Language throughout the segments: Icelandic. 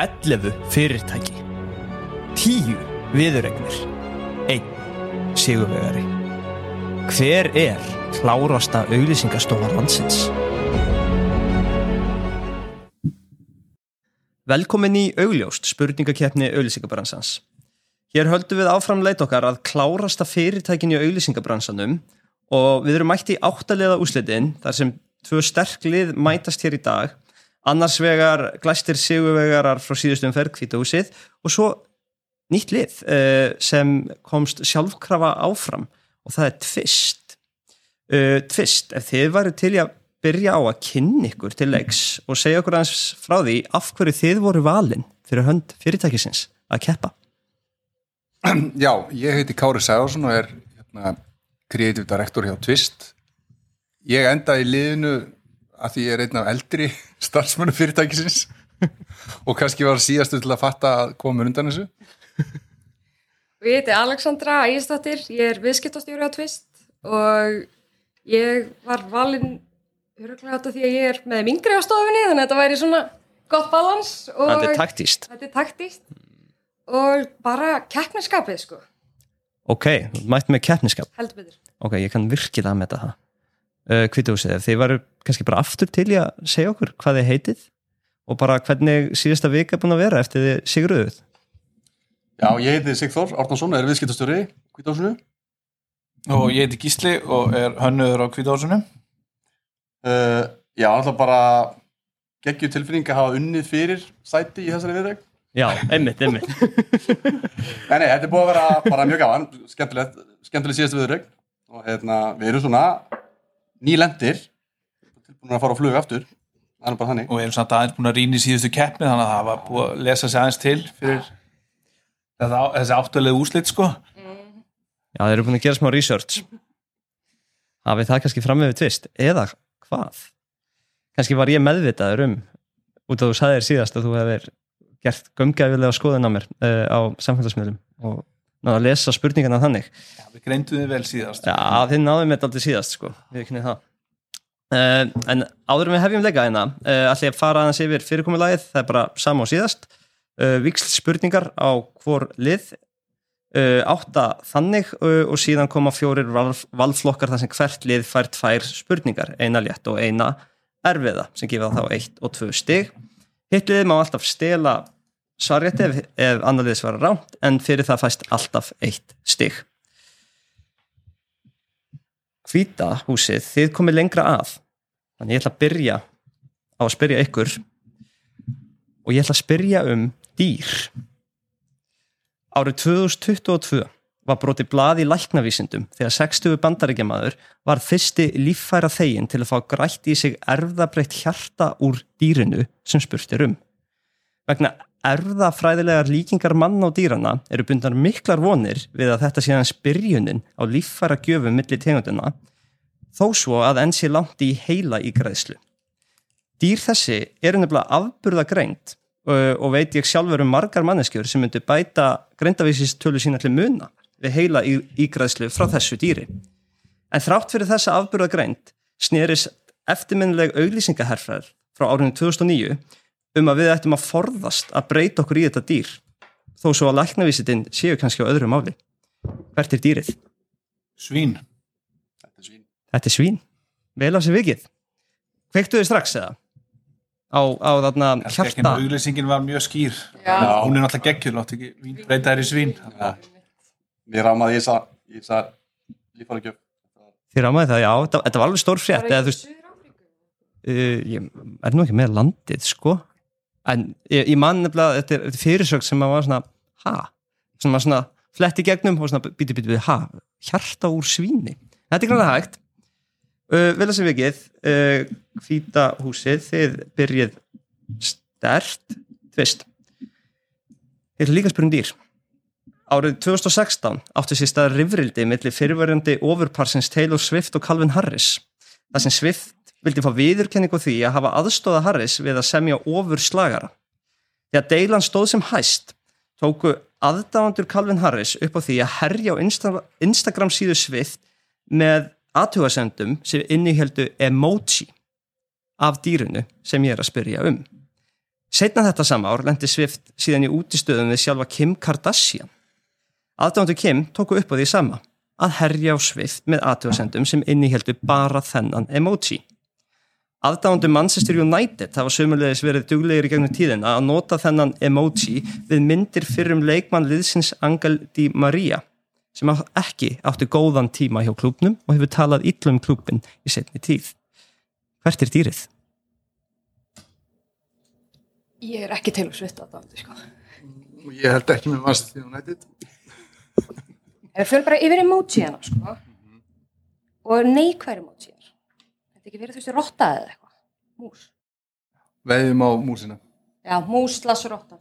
11 fyrirtæki 10 viðuregnir 1 sigurvegari Hver er klárasta auglýsingastofa landsins? Velkomin í augljóst spurningakeppni auglýsingabransans. Hér höldum við áfram leit okkar að klárasta fyrirtækin í auglýsingabransanum og við erum mætt í áttaliða úslitin þar sem tvö sterk lið mætast hér í dag annars vegar glæstir sigurvegarar frá síðustum ferð kvítahúsið og svo nýtt lið eh, sem komst sjálfkrafa áfram og það er tvist uh, tvist, ef þið varu til í að byrja á að kynni ykkur til leiks og segja okkur aðeins frá því af hverju þið voru valin fyrir hönd fyrirtækisins að keppa Já, ég heiti Kári Sæðarsson og er hérna, kreatív direktor hjá Twist. Ég enda í liðinu að því ég er einn af eldri starfsmönnum fyrirtækisins og kannski var síðastu til að fatta að koma undan þessu. Ég heiti Alexandra Ægisdóttir, ég er viðskiptastjóri á Twist og ég var valinn höruglega átt af því að ég er með mingri á stofinni þannig að þetta væri svona gott balans og Þetta er taktíst þetta er taktíkt og bara keppniskapið sko, Ok, þú mætt með keppniskap heldur betur. Ok, ég kann virkilega að meta það uh, Kvítahúsið, ef þið varu kannski bara aftur til í að segja okkur hvað þið heitið og bara hvernig síðasta vika er búin að vera eftir þið sigruðuð Já, ég heiti Sigþór Árnason, er viðskiptastjóri Hvításunu. og ég heiti Gísli og er hönnuður á Kvítahúsinu Uh, já, alltaf bara geggjum tilfinning að hafa unnið fyrir sæti í þessari viðreg. Já, einmitt, einmitt Nei, nei, þetta er búið að vera bara mjög gaman, skemmtilegt, skemmtilegt síðast viðreg. Og hérna, við erum svona nýlendir, tilbúin að fara á flug aftur, það er nú bara þannig. og erum samt aðeins búin að rýna í síðustu keppni þannig að það var búið að lesa sér aðeins til fyrir þetta, þessi áttulega úslit sko Já, þeir eru búin að gera smá research Hafið það kannski fram með tvist eða hvað? Kannski var ég meðvitaður um út að þú sagðir síðast að þú hefur gert gömgæfilega skoðun á mér uh, á samfélagsmiðlum og náðu að lesa spurningana þannig Já, við greindum þið vel síðast Já, þið náðum þetta aldrei síðast sko, við kynnið það uh, En áður en við hefjum leika hérna uh, ætla ég að fara aðeins yfir fyrirkomulagið það er bara sama og síðast uh, Víksl spurningar á hvor lið uh, átta þannig uh, og síðan koma fjórir val, valflokkar þar sem hvert lið fær tvær spurningar, eina létt og eina erfiða sem gefa þá eitt og tvö stig Hitt liðið má alltaf stela svarjætti ef, ef annar liðið svara rámt en fyrir það fæst alltaf eitt stig hvíta húsið, þið komið lengra að þannig ég ætla að byrja á að spyrja ykkur og ég ætla að spyrja um dýr Árið 2022 var brotið blað í læknavísindum þegar 60 bandaríkjamaður var fyrsti líffæra þegin til að fá grætt í sig erfðabreitt hjarta úr dýrinu sem spurt er um. Vegna erfðafræðilegar líkingar manna og dýrana eru bundar miklar vonir við að þetta sé hans byrjunin á líffæra gjöfum milli tegundina þó svo að enn sé langt í heila í græðslu. Dýr þessi eru nefnilega afburða greint og veit ég sjálfur um margar manneskjur sem myndu bæta greindavísistölu sína til muna við heila í, ígræðslu frá þessu dýri. En þrátt fyrir þessa afburða greint snerist eftirminnileg auglýsingaherfræður frá árinu 2009 um að við ættum að forðast að breyta okkur í þetta dýr þó svo að læknavísitinn séu kannski á öðru máli. Hvert er dýrið? Svín, Þetta er svín. Þetta er svín. Vel á sér vikið. Kveiktu þið strax eða? Á, á þarna ekki en hjarta. auglýsingin var mjög skýr Já. hún er náttúrulega geggjur, látt ekki vín breyta þær í svín Já. Mér rámaði í þessa- í þessa líffaragjöf. Þið rámaði það, já. Þetta, þetta var alveg stór frétt. Eða, þú veist, uh, ég er nú ekki með landið sko en ég, ég man nefnilega þetta er, þetta er fyrirsögn sem maður var svona ha, sem maður svona fletti gegnum og svona bíti bíti bíti ha, hjarta úr svíni þetta er grann hægt uh, vel að sem vikið uh, hvíta húsið, þið byrjið stert tvist þið er líka að spyrja um dýr Árið 2016 átti sér stað rifrildi millir fyrirverjandi ofurparsins Taylor Swift og Calvin Harris þar sem Swift vildi fá viðurkenningu á því að hafa aðstóða Harris við að semja ofur slagara. Þegar deilan stóð sem hæst, tóku aðdáðandur Calvin Harris upp á því að herja á Insta Instagram síðu Swift með aðtugasendum sem inniheldu emoji af dýrinu sem ég er að spyrja um. Seinna þetta sama ár lendi Swift síðan í útistöðum við sjálfa Kim Kardashian. Aðdándu Kim tóku upp á því sama, að herja á Swift með aðtöðasendum sem inniheldu bara þennan emoji. Aðdándu Manchester United hafa sömulegis verið duglegir í gegnum tíðina að nota þennan emoji við myndir fyrrum leikmann liðsins Angel Di Maria sem á- ekki átti góðan tíma hjá klúbnum og hefur talað illa um klúbin í setni tíð. Hvert er dýrið? Ég er ekki til að svita þetta, sko. Ég held ekki með Manchester United. Ef við fyrir bara yfir emoji hana, sko. Og neikværi emoji hana. Þetta er ekki verið þú veist rotta eða eitthvað. Mús. Veðjum á músina. Já, mús slags rotta.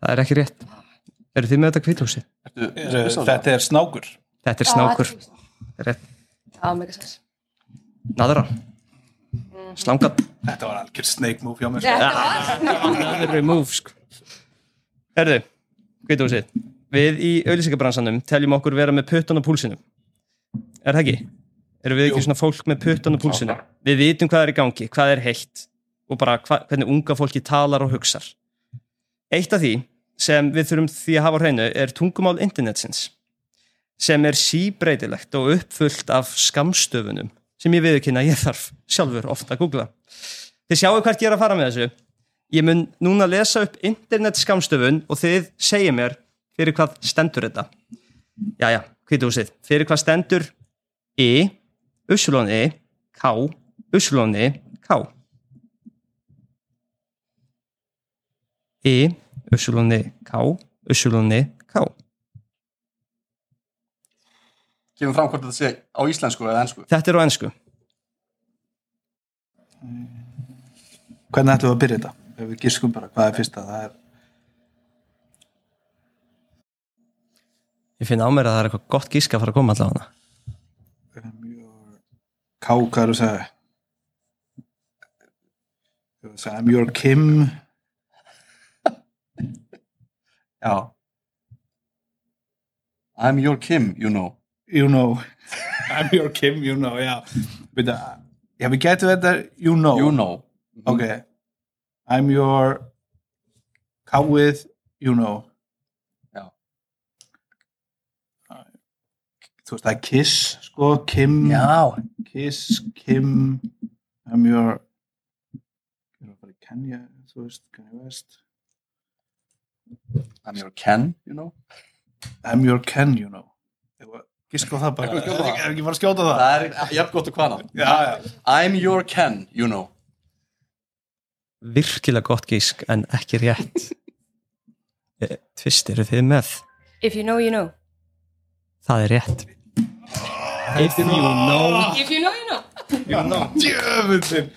Það er ekki rétt. Eru þið með þetta kvítlúsi? Ertu, ertu Er, viss á þetta? þetta er snákur Þetta er snákur. Já, þetta Þetta er rétt. er- já, mega sens. Nadra. Slangan. Þetta var algjör snake move hjá mér sko. Þetta var Nadra move, sko. Herðu, kvítlúsi. Við í auðlýsingabransanum teljum okkur vera með puttan á púlsinum. Er það ekki? Erum við ekki svona fólk með puttan á púlsinum? Við vitum hvað er í gangi, hvað er heitt og bara hva, hvernig unga fólki talar og hugsar. Eitt af því sem við þurfum því að hafa á hreinu er tungumál internetsins sem er síbreytilegt og uppfullt af skamstöfunum sem ég viðurkynna að ég þarf sjálfur ofta að googla. Þið sjáu hvert ég er að fara með þessu. Ég mun núna lesa upp internet skamstöfun og þið segir mér fyrir hvað stendur þetta. Jæja, hvítu húsið. Fyrir hvað stendur I, uslóni, K, uslóni, K. I, uslóni, E, K, uslóni, K. Kemur fram hvort þetta sé á íslensku eða ennsku Þetta er á ennsku. Hvernig ætlum við að byrja þetta? Ef við giskum bara hvað er fyrsta það er Ég finn á mér að það er eitthvað gott gíska að fara að koma allavega hana. Ká, hvað er að segja? Ég var að segja, I'm your Kim Já I'm your Kim, you know you know I'm your Kim, you know, já Vita, Já, við getum þetta you know, You know Ok I'm your Ká with, you know Já. Þú veist, það er kiss, sko, Kim Já, Kiss, Kim, I'm your Kenya, þú veist, Kanye West I'm your Ken, you know I'm your Ken, you know Gisk á það bara, Ekki skjóta er það. ekki bara að skjóta það Það er jafn gott og hvaðan Já, já, I'm your Ken, you know Virkilega gott gísk en ekki rétt. Eh, Tvist eru þið með. If you know, you know. Það er rétt. If you know. If you know, you know. djöfullin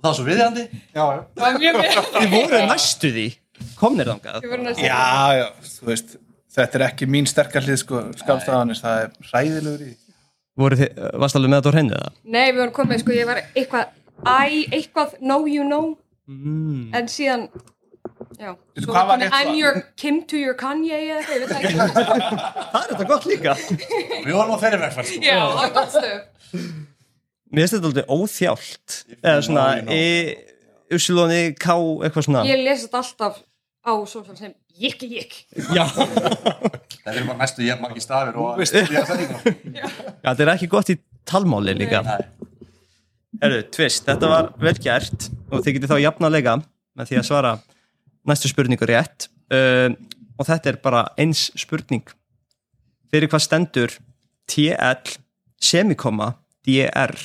Það var svo viðjandi Það var mjög mjög. Þið voru næstu því. Komnir þangað. Já, já, þú veist, þetta er ekki mín sterkar hlið, sko, skapstafanis það er hræðilegur í Voru þið, eh, varstu alveg með þetta á hreinu eða? Nei, við vorum komið, sko, ég var eitthvað, æ, eitthvað, know you know, Mm. en síðan, já. Svo hvað var komin, rétt svar? I'm your Kim to your Kanye, eða eitthvað, ég veit það ekki. Það er þetta gott líka. Við vorum á þeirri vegferð sko. Já, það var gott stöf. Mér finnst þetta aldrei óþjált. Eða svona, you know. I, Usulóni, K, eitthvað svona. Ég les þetta alltaf á social sem jikki jikk. Já. Það er bara næstu ég margir stafir og ég setningar Þetta er ekki gott í talmáli líka. Nei. Herru, tvist, þetta var vel gert og þið getið þá jafnalega með því að svara næstu spurningu rétt um, og þetta er bara eins spurning fyrir hvað stendur TL semikoma DR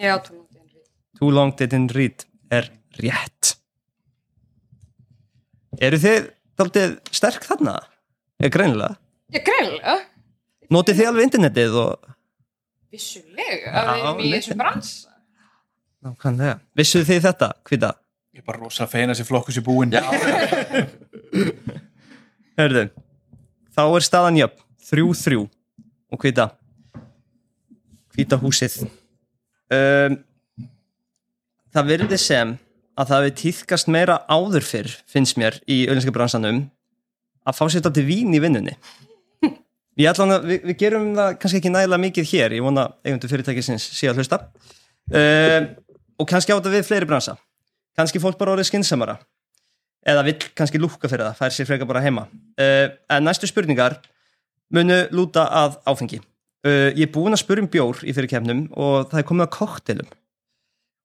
Já, tónlandi Henry. Too long didn't read er rétt Eru þið daldið sterk þarna? Er greinilega Já, greinilega. Notið þið alveg internetið og Vissulega. Já, við erum í þessu leitin. bransa. Nákvæmlega. Vissuð þið þetta? Hvita? Ég er bara rosa feina sér flokkus í búin Já, Hörðu, þá er staðan jöfn, 3-3 og hvita hvita húsið um, Það verði sem að það við týðkast meira áður fyrr finnst mér í ölinska bransanum að fá sér til vín í vinnunni Ég ætla hann að, við, við gerum það kannski ekki nægilega mikið hér, ég Ehm, vona eigundu fyrirtækisins sé að hlusta um, og kannski á þetta við fleiri bransa kannski fólk bara orðið skinsamara eða vill kannski lúka fyrir það, fær sér frekar bara heima uh, en næstu spurningar munu lúta að áfengi uh, ég er búinn að spurja um bjór í fyrir kemnum og það er komið að koktelum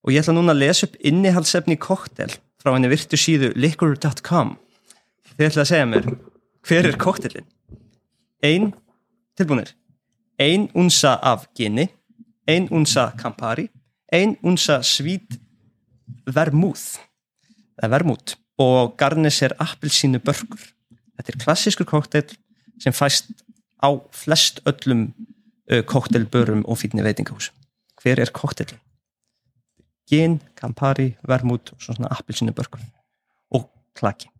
og ég ætla núna að lesa upp innihaldsefni í koktel frá henni virtu síðu liquor.com þið ætla að segja mér hver er koktelin ein, tilbúinir ein unsa af gini ein unsa Campari ein unsa svít vermúð eða vermút og garnis er appelsínu börgur þetta er klassískur kóktel sem fæst á flest öllum uh, kóktelbörum og fínni veitingahús hver er kóktelin? gin, Campari, vermút og svo svona appelsínu börgur og klaki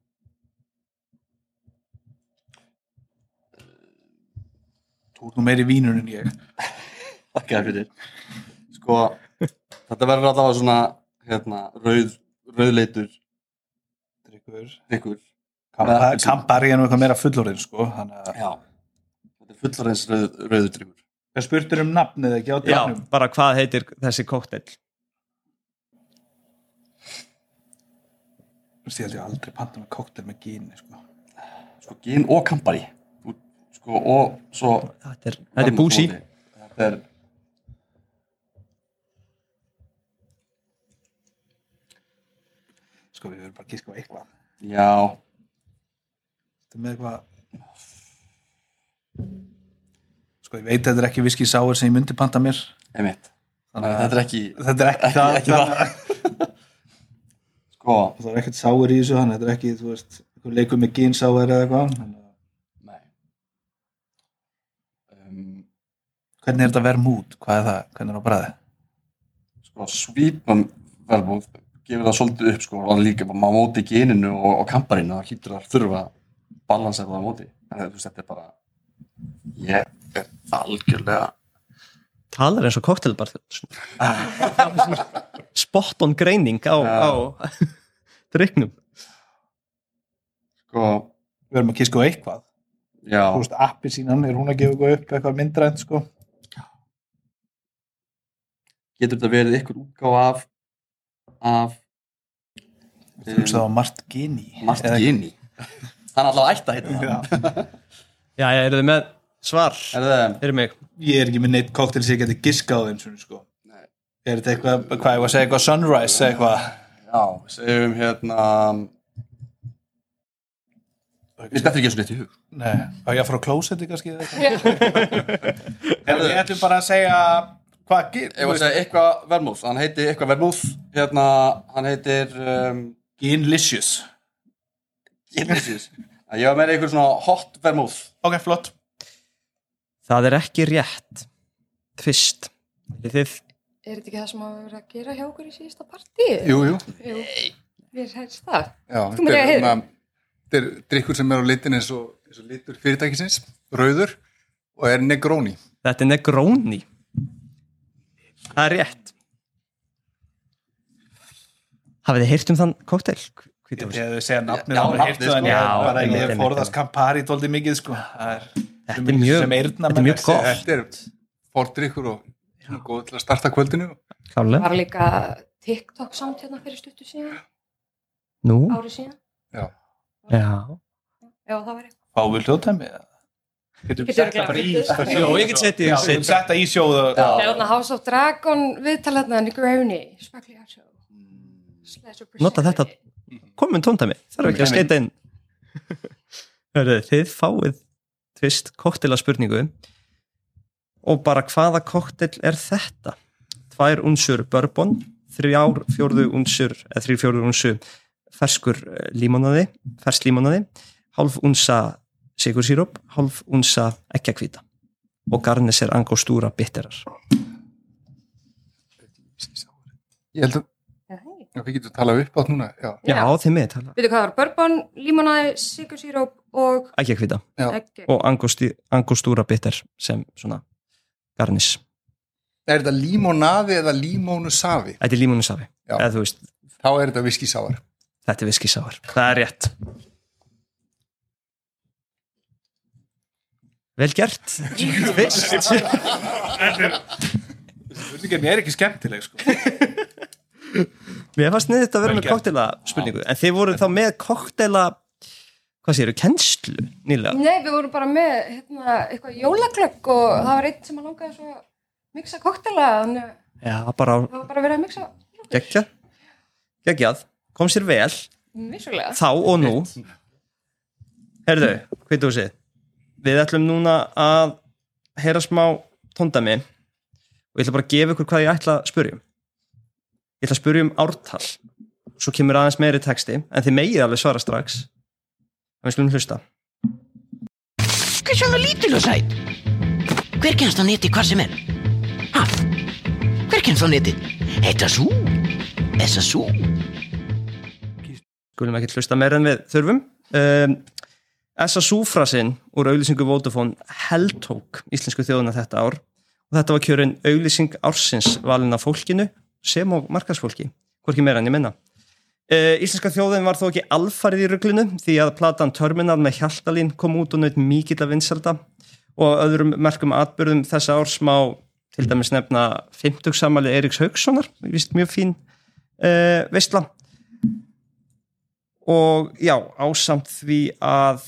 Þú ert nú meiri vínur en ég Takk eða fyrir Sko, þetta verður allavega svona hérna, rauð, rauðleitur Drykkur. ykkur Bara Campari er nú eitthvað meira fullorinn sko Þannig að Já, þetta er fullarins rauð, rauðutryggur Það spurtur um nafnið ekki á Já, drafnum bara hvað heitir þessi kóktel? Þú veist, ég held ég aldrei panta með kóktel með gíni sko Sko, gin og kampari Þú- Sko, og svo Þetta er, þetta er búsi Þetta er Sko við verðum bara að gíska á eitthvað Já, Þetta er með eitthvað Sko ég veit að þetta er ekki viski sáir sem ég myndi panta mér einmitt Þannig að Þetta er ekki Þetta er ekki það, ekki það. Sko, Það er ekkert sáir í þessu þannig að Þetta er ekki, þú veist, einhver leikur með gín sáir eða eitthvað Þannig að- nei um, Hvernig er þetta vermút? Hvað er það? Hvernig er það bræði? Sko, svípan verðbúð gefur það svolítið upp, sko, og líka bara á móti geninu og, og kamparinu, það hlýtur að þurfa að balansa það á móti en þú veist, þetta er bara ég er algjörlega talar eins og kóktelbar spot on greining á, á dryknum sko, Við verðum að gíska á eitthvað já, Þú veist, appi sínan, er hún að gefa eitthvað upp eitthvað myndrænt sko? getur þetta verið ykkur útgáfa af af Þú veist það á Mart Gini Mart Eða- Gini hann er allavega ætti að hérna. heita Já. það já, já, eru þið með svar er það, fyrir mig, Ég er ekki með neitt koktel sem ég geti giska á þeim svona, sko. Nei. Er þetta eitthvað, hvað ég var að segja, eitthvað sunrise eða eitthvað? já, segjum hérna við þetta ekki eins og neitt í hug Nei, á ég að fara á klósetti kannski eða eitthvað? Já. Herðu, Ég ætlum bara að segja hvað Ég var að segja eitthvað vermúð, hann heiti eitthvað vermúð, hérna, hann heitir, um, Ginlicious ég veit ekki, ég var meira eitthvað svona hot vermúð. Ok, flott það er ekki rétt tvist þið, Er þetta ekki það sem að vera að gera hjá okkur í síðasta partíu? Jú, jú. Jú. Mér helst það. Já, Þú mér þetta eiga er heiður. svona- þetta er drikkur sem er á litin eins og, eins og litur fyrirtækisins, rauður og er negróni. þetta er negróni það er rétt hafið þið heyrt um þann kóktel? Þegar þetta þau segja nafnið Já, þá bara heyrt nafnið, það, sko. en ég- Já, bara einmitt, Ég einmitt, forðast einmitt. Campari dóldi mikið sko. Það er- er sem- mjög, sem eyrnamenn þetta er mjög þessi- gott Þetta er fórt drikkur og svona góð til að starta kvöldinu. klálega, Var líka TikTok samt hérna fyrir stuttu síðan, nú, ári síðan. já Já, það var eitthvað. Fá við hljóðtæmi eða? Getum Getur við sett örugglega það bara í fundið. sjóð? Jó, ég get sett í- Já, sett- getum sett það í sjóð og- Það er þarna House of Dragon viðtalarna Negroni, spekli að sjó. Slice of Nota þetta. Persephone. komum tóndæmi, þarf ekki að Tóndæmi. skeita inn Hörðu, þið fáið tvist koktela spurningu og bara hvaða koktel er þetta? Tvær unsur bourbon, þrjár fjórðu unsur, eða þrjár fjórðu unsu ferskur eh, límonaði fersk límonaði, hálf unsa sigursíróp, hálf unsa ekkjakvita og garnis er angostúra bitterar. Ég held að Nei. já, við getum talað upp átt núna. Já, Já, þið með tala. Veitu hvað var? Bourbon, límonaði, sikursíróp og Ekkjakvita Já. ekki. og angosti- angostúra bitter sem svona garnis. er þetta límonaði eða límónusafi? Þetta er límónusafi Já. eða þú veist, Þá er þetta viskisávar. þetta er viskisávar það er rétt Vel gert Vist Spurningin er ekki skemmtileg sko. Mér fannst niður þetta að vera Vel með gert. koktela spurningu en þið voru þá með koktela hvað séu, kennslu nýlega Nei, við vorum bara með hérna, eitthvað jólaglögg og það var einn sem að langaði svo að miksa koktela, þannig að Já, bara á það var bara verið að miksa geggja geggjað, kom sér vel vissulega. þá og nú Herðu, hvita húsið Við ætlum núna að heyra smá tóndami og ég ætla bara að gefa ykkur hvað ég ætla að spurjum Ég ætla að spurjum ártal svo kemur aðeins meiri texti en þið megið alveg svara strax en við skulum hlusta Hversu alveg lítil og sæt? Hver kennst á neti hvað sem er? Ha? Hver kennst á neti? Þetta sú? Þessa sú? skulum ekki hlusta meira en við þurfum um, Essa Súfrasinn úr auglýsingu Vodafone heldtók íslensku þjóðuna þetta ár og þetta var kjörin auglýsing ársins valin af fólkinu sem og markarsfólki, hvorki meira en ég minna uh, Íslenska þjóðin var þó ekki alfarið í ruglunu því að platan Terminal með Hjaltalín kom út og naut mikill að vinselda og á öðrum merkum atbyrðum þessa árs má til dæmis nefna 50 samali Eriks Haugssonar, vist mjög fín uh, veistla og já, ásamt því að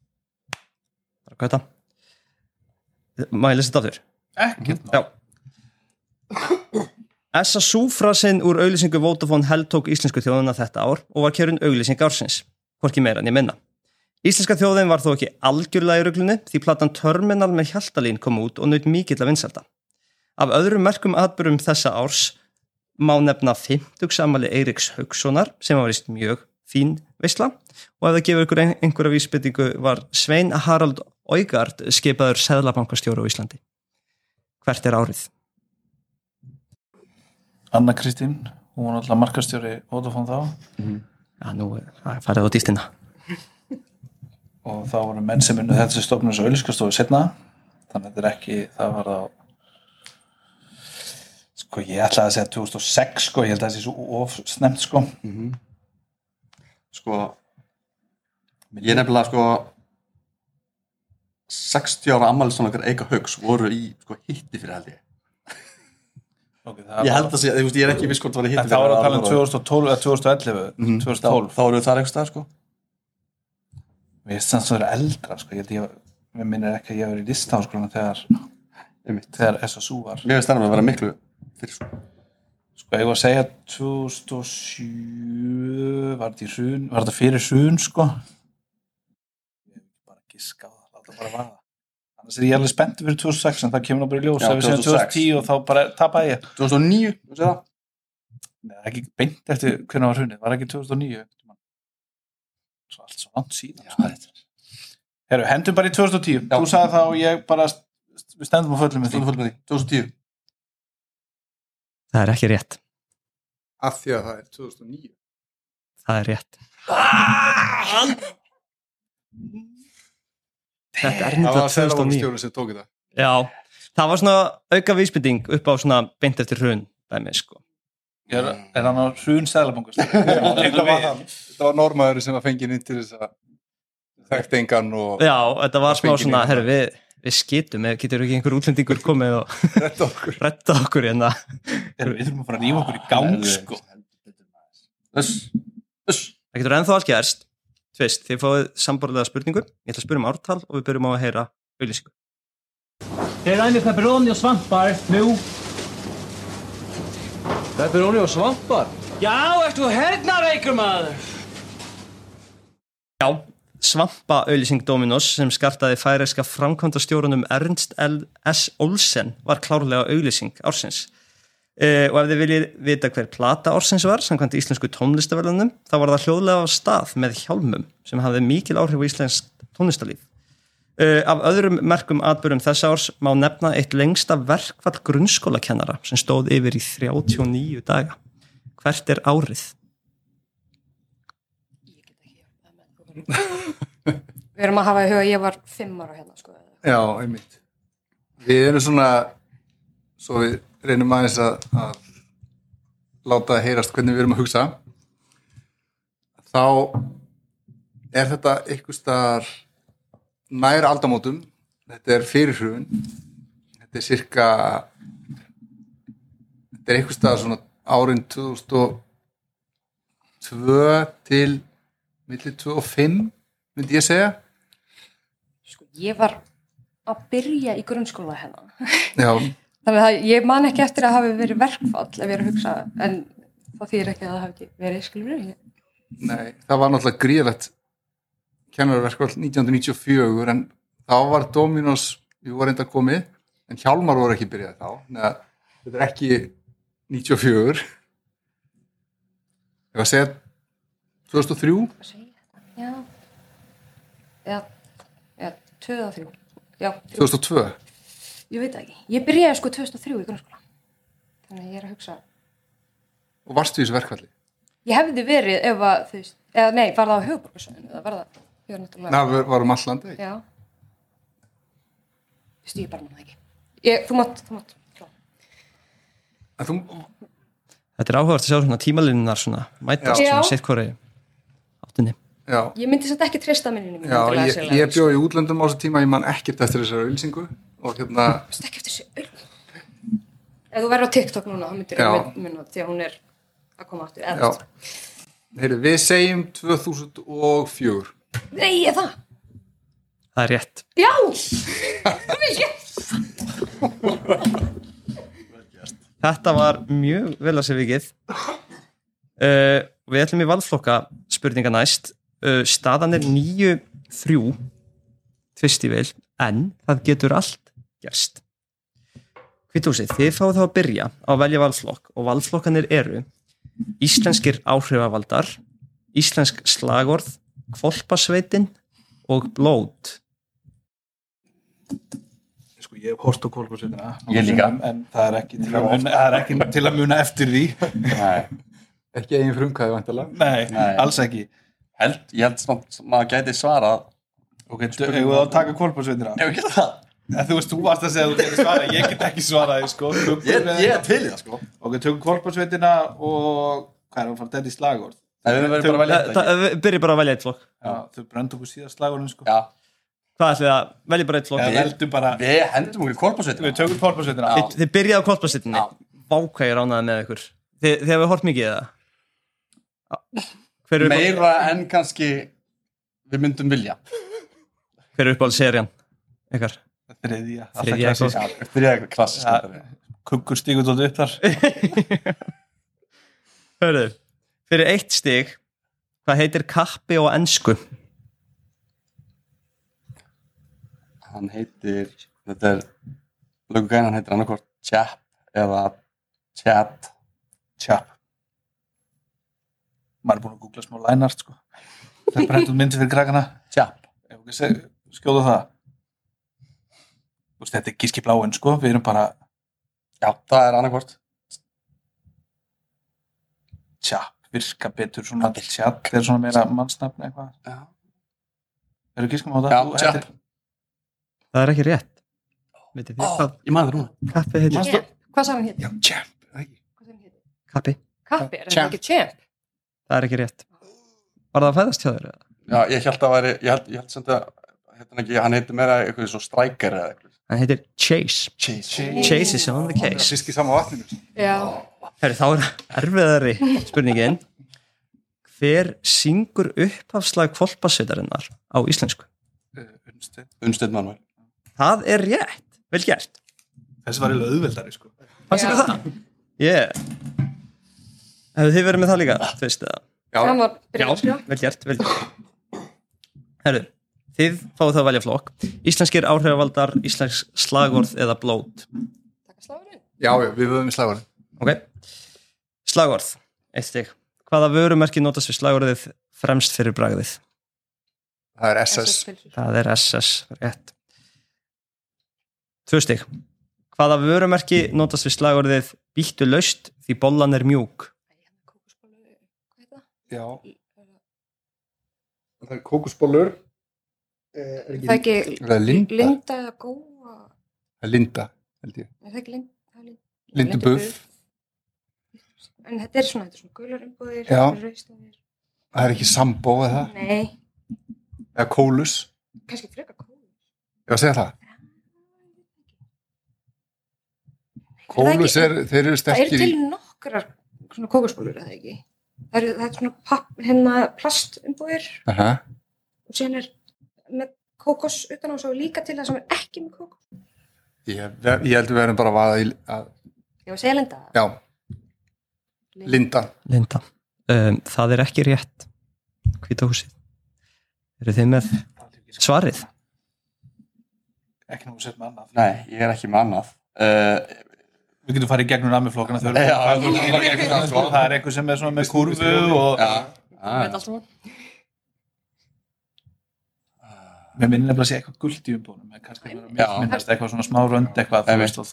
bara hvað er þetta? Má ég lesa þetta aftur? Ekkert Já Essa súfrasinn úr auglýsingu Vodafone heldtók íslensku þjóðuna þetta ár og var kjörun auglýsing ársins, hvorki meira en ég minna. Íslenska þjóðin var þó ekki algjörlega í ruglunni því platan Terminal með Hjaltalín kom út og naut mikill að vinselda. Af öðrum merkum atbyrjum þessa árs má nefna 50 samali Eiriks Haugssonar sem var vist mjög fín veisla og ef það gefur ykkur ein- einhverja vísbyttingu var Svein Harald Ógard skipaður Seðlabankastjóra á Íslandi. Hvert er árið? Anna Kristín, hún var náttúrulega markastjóri Vodafone þá Já, nú er það er farið á dýstina. og þá voru menn sem unnu þetta stofnum svo auðlýskastofu setna þannig að þetta er ekki, það var þá sko ég ætlaði að segja 2006 sko, ég held að það sé svo of snemt sko sko ég er nefnilega sko 60 ára ammælistónleikar Eika Haugs voru í sko, hitti fyrir held ég okay, það ég var- held að sé, þú veist, ég er ekki viss hvort það var í En hitti þá var að tala um ára. 2012 eða 2011 Mhm. þá, 2012 þá eru það eitthvað sko Mér finnst þannig að það er eldra sko. ég, held ég, mér minnir ekki að ég var í listaháskólan þegar, Einmitt. þegar SSU var mér finnst það að vera miklu fyrir sko sko ég var að segja 2007 var þetta, í hrun, var þetta fyrir hrun sko ég hef bara giska á það láta bara vaða annars er ég alveg spennt fyrir 2006 en það kemur nú bara í ljós Já, ef við segjum 2010 og 2006. þá bara tapaði ég 2009, þú segir það Nei, það er ekki beint eftir hvernig var hrunið var ekki 2009 svo allt svo langt síðan sko. Heru, hendum bara í 2010 Já. þú sagði þá og ég bara st- við stendum á föllum með því Þú fólk með því, 2010 Það er ekki rétt. af því að það er 2009 Það er rétt. Þetta er það nýttlega 2009. var seðlabankastjóri sem tók þetta Já, það var svona auka vísbytting upp á svona beint eftir hrun dæmi, sko. Ég er, er hann á hrun sko. sæðlabangus þetta var, hann- þetta var normaður sem að fengi inn til þess að þekkt engan og Já, þetta var Það smá fengi svona, mig. herru, við, við skitum eða getur ekki einhver útlendingur komið og þetta okkur retta okkur hérna. við þurfum að fara að nýja okkur í gang sko. Þess, þess Það getur ennþá allt gerst. Tvist, þið fáið samborlega spurningu. Ég ætla að spyrja um ártal og við byrjum á að heyra auðlýsingu. Det regnar med pepperoni och svampar nu. Pepperoni och svampar? Ja, ert þú herna reykur maður? Já, svampa auðlýsing Dominos sem skartaði færeska framkvæmdastjórunum Ernst L. S. Olsen var klárlega auðlýsing ársins. Uh, og ef þið viljið vita hver plata ársins var, samkvæmt íslensku tónlistaverðunum, þá var það hljóðlega á stað með hjálmum sem hafði mikil áhrif á íslensk tónlistalíf. Uh, af öðrum merkum atbyrjum þessa árs má nefna eitt lengsta verkfall grunnskólakennara sem stóð yfir í 39 daga. Hvert er árið? Við erum að hafa í huga, að ég var fimm ára hérna, sko. já, einmitt við erum svona svo við reynum aðeins að, að láta það heyrast hvernig við erum að hugsa þá er þetta einhver staðar nær aldamótum þetta er fyrirhrun þetta er cirka þetta þetta er einhvers staðar svona árin 2002 til millir 2005 myndi ég segja Sko, ég var að byrja í grunnskóla hérna. hennan. já, Þannig að ég man ekki eftir að hafi verið verkfall ef ég er að hugsa, en það þýr ekki að það hafi ekki verið, skilur við. nei, það var náttúrulega gríðlegt kennarverkvall 1994 en þá var Dominos við vorum enda komið en Hjálmar voru ekki byrjað þá neða, þetta er ekki 94 ég var að segja 2003 Já. Já. Já, 2 og 3. Já, 3. 2002 ég veit það ekki. Ég byrjaði sko 2003 í grunnskóla. Þannig að ég er að hugsa, og varstu í þessu verkvalli ég hefði verið ef að, þú veist, eða nei, var það á höfuborgarsöðinu, það var það, ég var náttúrulega. það varum allandi Já. Vistu, ég bara manna það ekki. Ég, þú mátt, þú mátt, klá. En þú, Þetta er áhugavert að sjá svona tímalinnar svona mætast Já. svona Já. sitt hvori áttinni. já, Ég myndi satt ekki treysta minni mínu. já ég, ég bjóð í útlöndum á þessu tíma, ég man ekkert eftir þessari auðlýsingu og hérna, Vist ekki eftir þessu auðvitað. Ef þú verður á TikTok núna, þá myndir Já. ég minna því að hún er að koma aftur. já Eða, Heyri, við segjum 2004 nei, ég það. Það er rétt. Já! yes! Þetta var mjög vel að segja vikið. Uh, við ætlum í valflokka spurninga næst. Uh, staðan er 9-3 tvistivel, en það getur allt gerst. Hvitúsið, þið fáið þá að byrja á að velja valflokk og valflokkanir eru íslenskir áhrifavaldar, íslensk slagorð, kvolpasveitin og blót. sko, ég hef hort á kólkursveitina Ég líka. en, en það er ekki til að muna, það er ekki til að muna eftir því Nei, ekki eigin frumkvæði vantilega nei, Nei. alls ekki held, ég held samt að maður gæti svara ok, hefur það að taka kólkursveitina Ef ekki það En þú veist, þú varst að segja að þú getur svarað, ég get ekki svarað, því, sko. Tökum Ég, við- ég er til í það sko Ok, tökum kvolparsveitina og hvað er að fara denni slagorð? Nei, við verðum bara að velja Eh, þetta það- eh, Byrjið bara að velja eitt flokk. Já, þau bröndu okkur síðast slagorðin, sko. ekki. Hvað ætlið að velja bara eitt flokk? Eða veldum bara, Já, við hendum okkur í við korpasveitina tökum kvolparsveitina. Já. Þið, þið byrjaði á kvolpasittinni Vákvæði ránaði með ykkur Þið, þið hefur hort mikið í það Hver er, uppáhalds- Meira en kannski við myndum vilja hver er uppáhald serían? Ykkar Þriðja, alltaf Þriðja, klassísk. sko. Þriða klassisk Já. myndari. Kukkur stígur tótt upp þar. Hörðu, fyrir eitt stig Hvað heitir kappi og ensku? Hann heitir Þetta er Lögu gæðin hann heitir annarkvort Chap eða Chat Tjáp. Maður er búin að googla smá lænart, sko. Það er brendum myndi fyrir krakkana. Chap Ef okkur seg- skjóðu það. Þú veist, þetta er gíski bláinn, sko. Við erum bara Já, það er annarkvort tjáp, virka betur svona tjáp. Það er svona meira mannsnafn eitthvað. Já, Eru gískum á það? Já, Þú- tjáp. þetta er- Það er ekki rétt Vitið þið hvað ég maður núna kappi heitir? Yeah. Hvað sagði hann hétt? já, champ, ekki. Hvað sagði hann hétt? Kappi, Kappi, er þetta Champ. ekki champ? það er ekki rétt Var það að fæðast hjá þér? eða? Já, ég held að væri Ég held, ég held sem þetta Hérna ekki, hann heitir meira eitthvað svo striker eða eitthvað Hann heitir Chase Chase Chase is on the case síski sama vatninu Já. Herri, þá er erfiðari spurningin Hver syngur upphafslag kvolpasveitarinnar á íslensku? Unnsteinn. Unnsteinn Manuel Það er rétt, vel gert Þessi var eiginlega auðveldari sko. Hvað séu Já. það? Yeah Hefur þið verið með það líka? Þú veist það Hann var byrjað að skrifa. vel gert, vel gert Herru, þið fáið það að velja flokk Íslenskir áhrifavaldar, íslensk slagorð eða blót Takk að slagurinn. já, já, við höfum í slagurinn Ok, slagorð, eitt stig Hvaða vörumerki notast við slagorðið fremst fyrir bragðið? það er SS, Það er SS, rétt. Tvö stig. Hvaða vörumerki notast við slagorðið býttu laust því bollan er mjúk? já það er kókusbólur er Það er ekki það er linda, Linda eða Góa. það er linda held ég, Nei, það er ekki Linda. það er Linda. lindubuff En þetta er svona, þetta er svona gularumbúðir, Já. rauðstofir. það er ekki sambó eða, Nei, eða kólus kannski frekar kóla. ég var að segja það Kólus Er er, þeir eru Það eru sterkir í til nokkrar svona kókaspólur eða ekki. Það eru það er svona papp, hérna plastumbúðir Aha, og síðan er með kókos utan á svo líka til það sem er ekki með kókos. ég, ég held við verðum bara að vaða í að, Ég var að segja lenda það. Já, Linda Linda, um, það er ekki rétt hvita húsið eru þið með svarið Ekki nú sett með annað. Nei, ég er ekki með annað uh, Við getum farið í gegnum namiflokkana þau. Já, eru- við getum farið í gegnum allt, sko. Það er eitthvað sem er svona með kurvu og... Já, Þetta já, allt saman. Mér minnir nefnilega að sé eitthvað guld í umbúðunum. en Kannski bara Já. minnast eitthvað svona smá rönd eitthvað. Þú veist Einmitt. að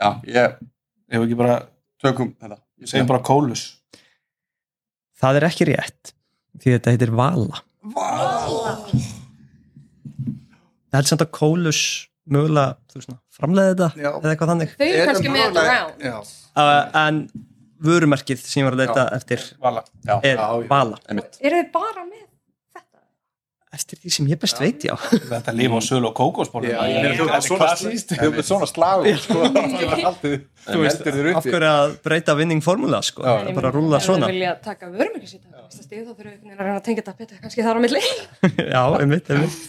já, ég Ef við ekki bara, tökum þetta Ég segjum bara kólus. það er ekki rétt því þetta heitir Vala það er samt að Kólus mögulega þú veist, svona, framleiði þetta Já. eða eitthvað þannig Þau eru Erum kannski með þetta mögulega- round. Já, uh, en vörumerkið sem ég var að leita eftir Vala. er Já, já. Vala einmitt Eru þið bara með þetta? eftir því sem ég best veit já Þetta lifa á sölu og kókosbólum. já, ég meina, þú ert svona slýst Þú ert svona slagur sko, það getur haldið Þú heldur þér af uppi hverju að breyta vinning formúla sko, Já. Það er bara að rúla svona Ef þið vilja taka vörumökið sitt á næsta stíð þá þurfum við einhvern veginn að reyna að tengja þetta betur kannski þar á milli. já, einmitt, einmitt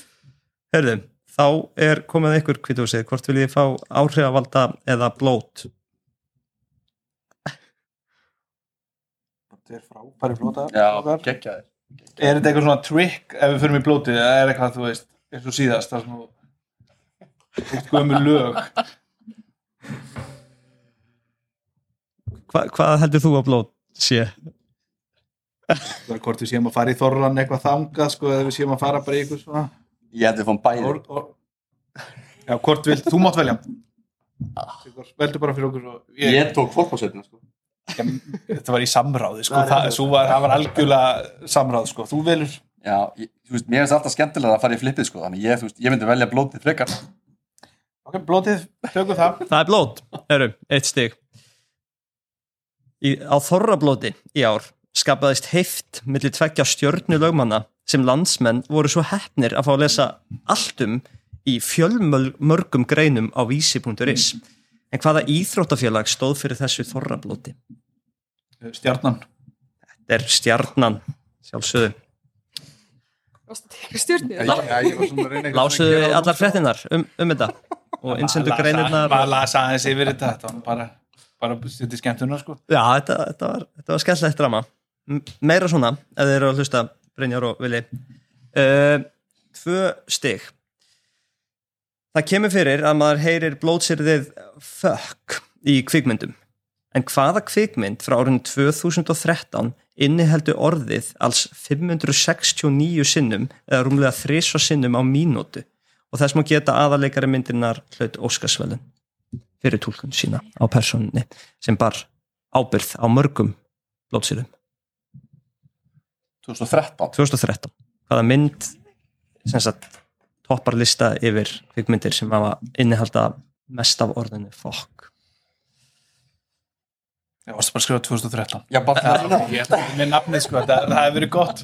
herðum, þá er komið ykkur kvitúsið, hvort viljið þið fá áhrifavalda eða blót Þetta er frábæri flóta. Já, geggjaði Er þetta eitthvað svona trick ef við förum í blótið eða er eitthvað, þú veist, eins og síðast það sem þú veist gömur lög Hva, hvað heldur þú að blót sé? það er hvort við séum að fara í þorran eitthvað þangað sko, eða við séum að fara bara í eitthvað svona Ég held við fórum bæði or, or. Já, hvort vilt, þú mátt velja Sigþór, Veldu bara fyrir okkur svo Ah. ég, Ég tók fólkbásetina sko Þetta var í samráði, sko, það, svo var, það var algjörlega samráð, sko, þú velur Já, ég, þú veist, mér finnst alltaf skemmtilega að fara í flippið sko Þannig ég, þú veist, ég myndi velja blótið frekar Ok, blótið, tökum það Það er blót, herðum, eitt stig Í, á þorrablóti í ár skapaðist heift millir tveggja stjörnulögmanna sem landsmenn voru svo heppnir að fá að lesa allt um í fjölmörgum greinum á vísi.is En hvaða íþróttafélag stóð fyrir þessu þorrablóti? Stjarnan, Þetta er stjarnan, sjálfsögðu Varstu að tengja stjórnir? Já, já, ég var svona að reyna eitthvað Lásuðu svona að gera allar fréttinnar um, um þetta og innsendu greinirnar Bara og... lasa aðeins yfir þetta, þetta var nú bara bara sitt í skemmtuna, sko Já, þetta, þetta var, þetta var skemmtilegt drama M- Meira svona, ef þið eru að hlusta Brynjar og Vili uh, Tvö stig Það kemur fyrir að maður heyrir blótsyrðið fuck í kvikmyndum En hvaða kvikmynd frá árinu 2013 inniheldu orðið alls 569 sinnum eða rúmlega þrisva sinnum á mínútu og þess má geta aðarleikari myndinar hlaut Óskarsvelun fyrir tólkun sína á personinni sem bar ábyrð á mörgum blótsýrum 2013 2013 hvaða mynd sem sagt toppar lista yfir kvikmyndir sem hafa innihalda mest af orðinu fokk Ég varst bara að skrifa 2013 Já, bara það er Ég ætla ekki með nafnið sko, það, það hefur verið gott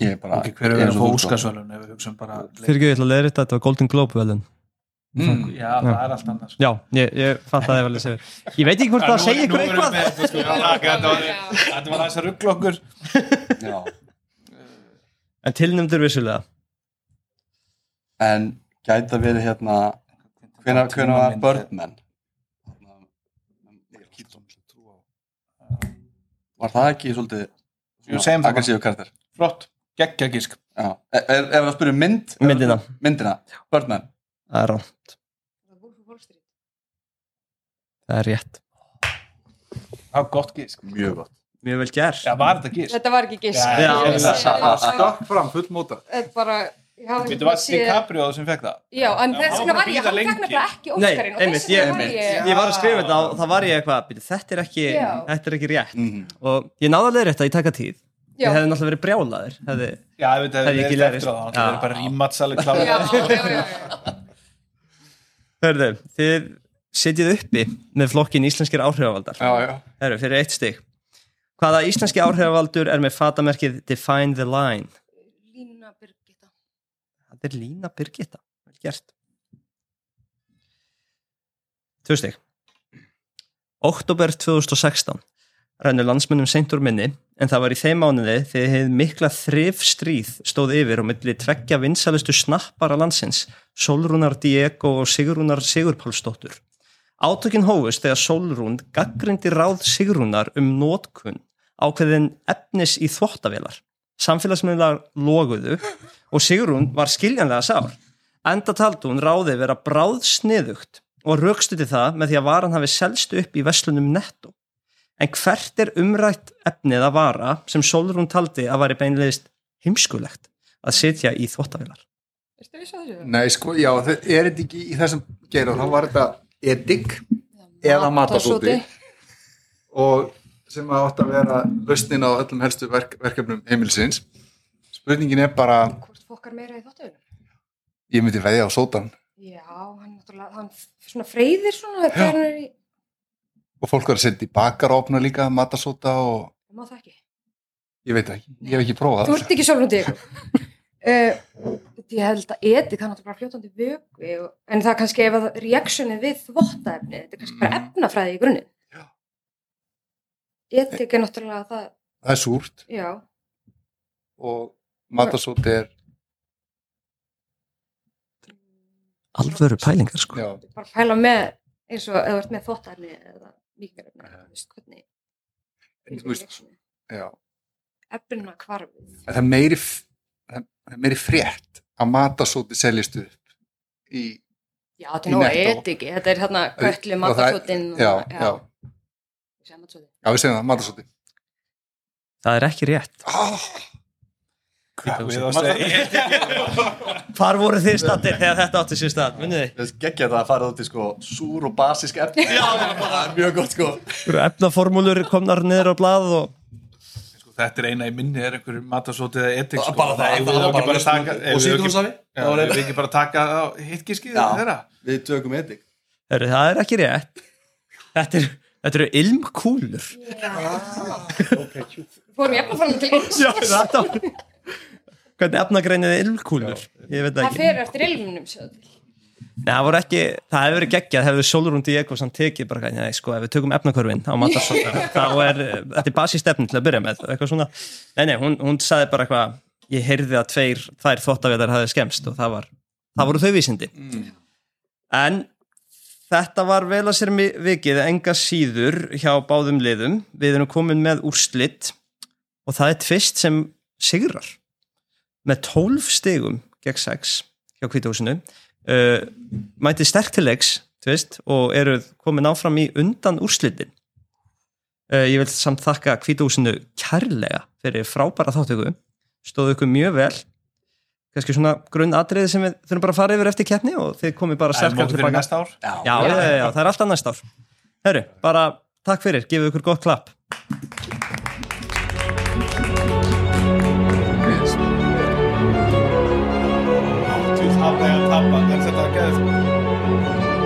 Ég er bara Ok, hver er ég verið að svo fá þú, sko. Óskarsvölun ef við hugsaum bara Fyrir ekki, ég ætla að leiða þetta, þetta var Golden Globe velun mm, Já, það er allt sko. annars Já, ég, ég fatt að það vel að segja Ég veit ekki hvort það segja ykkur eitthvað Þetta var aðeins að ruggla okkur Já, En tilnumdur vissulega en gæta verið hérna Hvena, hvena var Birdman? Hérna, Keaton. Var það ekki Jú, segjum svolítið það. aggressíu karakter? Flott, geggja gísk Já, er, er, er að spyrja um mynd? Ef- Myndina. Myndina, Birdman Það er, rá- Þetta það er rétt Það var gott gísk Mjög gott Mjög vel gert Já, var þetta gísk? var ekki giss. Já, já, Ég vissi já. það. Stökk fram, fullmóta sko, Þetta er bara... ég hafði ekki Þetta var séð- DiCaprio sem fekk það Já, en Já, þess hann vegna var var ég, að bíða hann fekk lengi. nefnilega ekki Nei, Óskarinn og einmitt, þess vegna ég- var ég... Ég var að skrifa þetta og það var ég eitthvað "Bíddu, Þetta er ekki, Já. þetta er ekki rétt Mhm. Og ég náða að leiða þetta í taka tíð Ég Já. hefði náttúrulega verið brjálaður hefði... Já, ég Hefði veit að það ekki er lært. eftir á það Það Já. er bara rímatsaleg kláð Já, já, já, já. Hörðu, þið setjið uppi með flokkin íslenskir áhrifavaldar Já, já, Hörðu, fyrir eitt stig Hvaða íslenski áhrifavaldur er með fatamerkið Define the Line? Lína Lína Birgitta. Það er Lína Birgitta, vel gert. Tvö stig. Oktober 2016 rennur landsmönnum seint úr minni en það var í þeim mánuði þegar hefði mikla þrif stríð stóð yfir og milli tveggja vinsælustu snappara landsins Solrúnar Diego og Sigrúnar Sigurpálsdóttur. Átökin hófust þegar Solrún gaggrindi ráð Sigrúnar um nótkun ákveðin efnis í þvottavélar. Samfélagsmiðlar loguðu og Sigrún var skiljanlega sár. Enda taldi hún ráði vera bráðsniðugt og raukstuði það með því að varan hafi selst upp í veslunum netto. En hvert er umrætt efnið að vara sem Solrún taldi að væri beinleðist heimskulegt að setja í þvottavélar? Ertu viss á þessu? Nei, sko, já, þe- er þetta ekki í þessum geira, þá var þetta edik eða matasóti og sem að átt að vera lausnin á öllum helstu verk, verkefnum heimilsins. Spurningin er bara, Hvort fokkar meira í þóttuðinu? ég myndi veðja á sótan Já, hann náttúrulega, hann svona freyðir svona þegar hann er í, og fólk var að setja í bakarofna líka, matasóta og má það ekki. ég veit ekki, ég hef ekki prófað Þú það. ert ekki sofnandi ykkur. Uh, ég held að edik hann náttúrulega bara fljótandi vöku og, en það er kannski ef að reaksjonið við þvottaefni, þetta er kannski bara Mm. efnafræði í grunni. Edik er náttúrulega það, Það er súrt já, og matasóti er, Alvöru pælingar sko. já, bara pæla með eins og eða þú ert með þvottaefni eða mikilvægni, þú veist hvernig. en þú veist, reactionið- já. Efnina hvarfið. En það er meiri, f- það það er meiri frétt að matasóti seljist upp í, Já, þetta Í er nóg Netto. edik, þetta er hérna köllu Og það- matasótin. já, já, já. Matasótin. já, við segjum það, matasóti. Það er ekki rétt. Ah, Við að segja, Hvar voru þið stattir þegar þetta átti sér stað? Minnið þið? Þess geggja það að fara út í sko súr og basisk efni. Já, það er mjög gott sko. Eru Efnaformúlur komnar niður á blað og sko, þetta er eina í minni, er einhver matasóti eða etik, sko, Bara það, eigum við það var ekki bara bara að taka, lausnin. eigum Og við ekki- síðrúsafi. Já, eigum við ekki bara að taka á hittgiskið Já. þeirra. Við tökum edik. Heru, það er ekki rétt. Þetta eru þetta eru ilmkúlur. fórum ég efnafræðina til eins Já, þetta var... Hvernig efnagreinið er ilmkúlur? Ég veit það það ekki. fer eftir ilmunum sjáðu til. Nei, það voru ekki, það hefur verið geggjað, hefur Solrún Diego samt tekið bara gætið, nei, sko, ef við tökum efnakörfin á matarsóta, þá er, eh, þetta er basistefni til að byrja með, eitthvað svona, nei, nei, hún, hún sagði bara eitthvað, ég heyrði að tveir, þær þvottavélar hafði skemst og það var, það voru þau vísindi. En þetta var vel að sér mi- vikið, enga síður hjá báðum liðum, við erum komin með úrslit og það er tvist sem sigrar með 12 stigum gegn 6 hjá kvítahúsinu uh, mætið sterk til leiks þú veist, og eruð komin áfram í undan úrslitin uh, ég vil samt þakka kvítahúsinu kærlega fyrir frábæra þáttöku stóðu ykkur mjög vel kannski svona grunnatriði sem við þurfum bara að fara yfir eftir keppni og þið komið bara Það er sterkar mót fyrir tilbaka næsta ár. já, já, já, já, það er alltaf næst ár Herru, bara takk fyrir, gefið ykkur gott klapp yes. Þú þarf að tapa, en þetta er gæðið.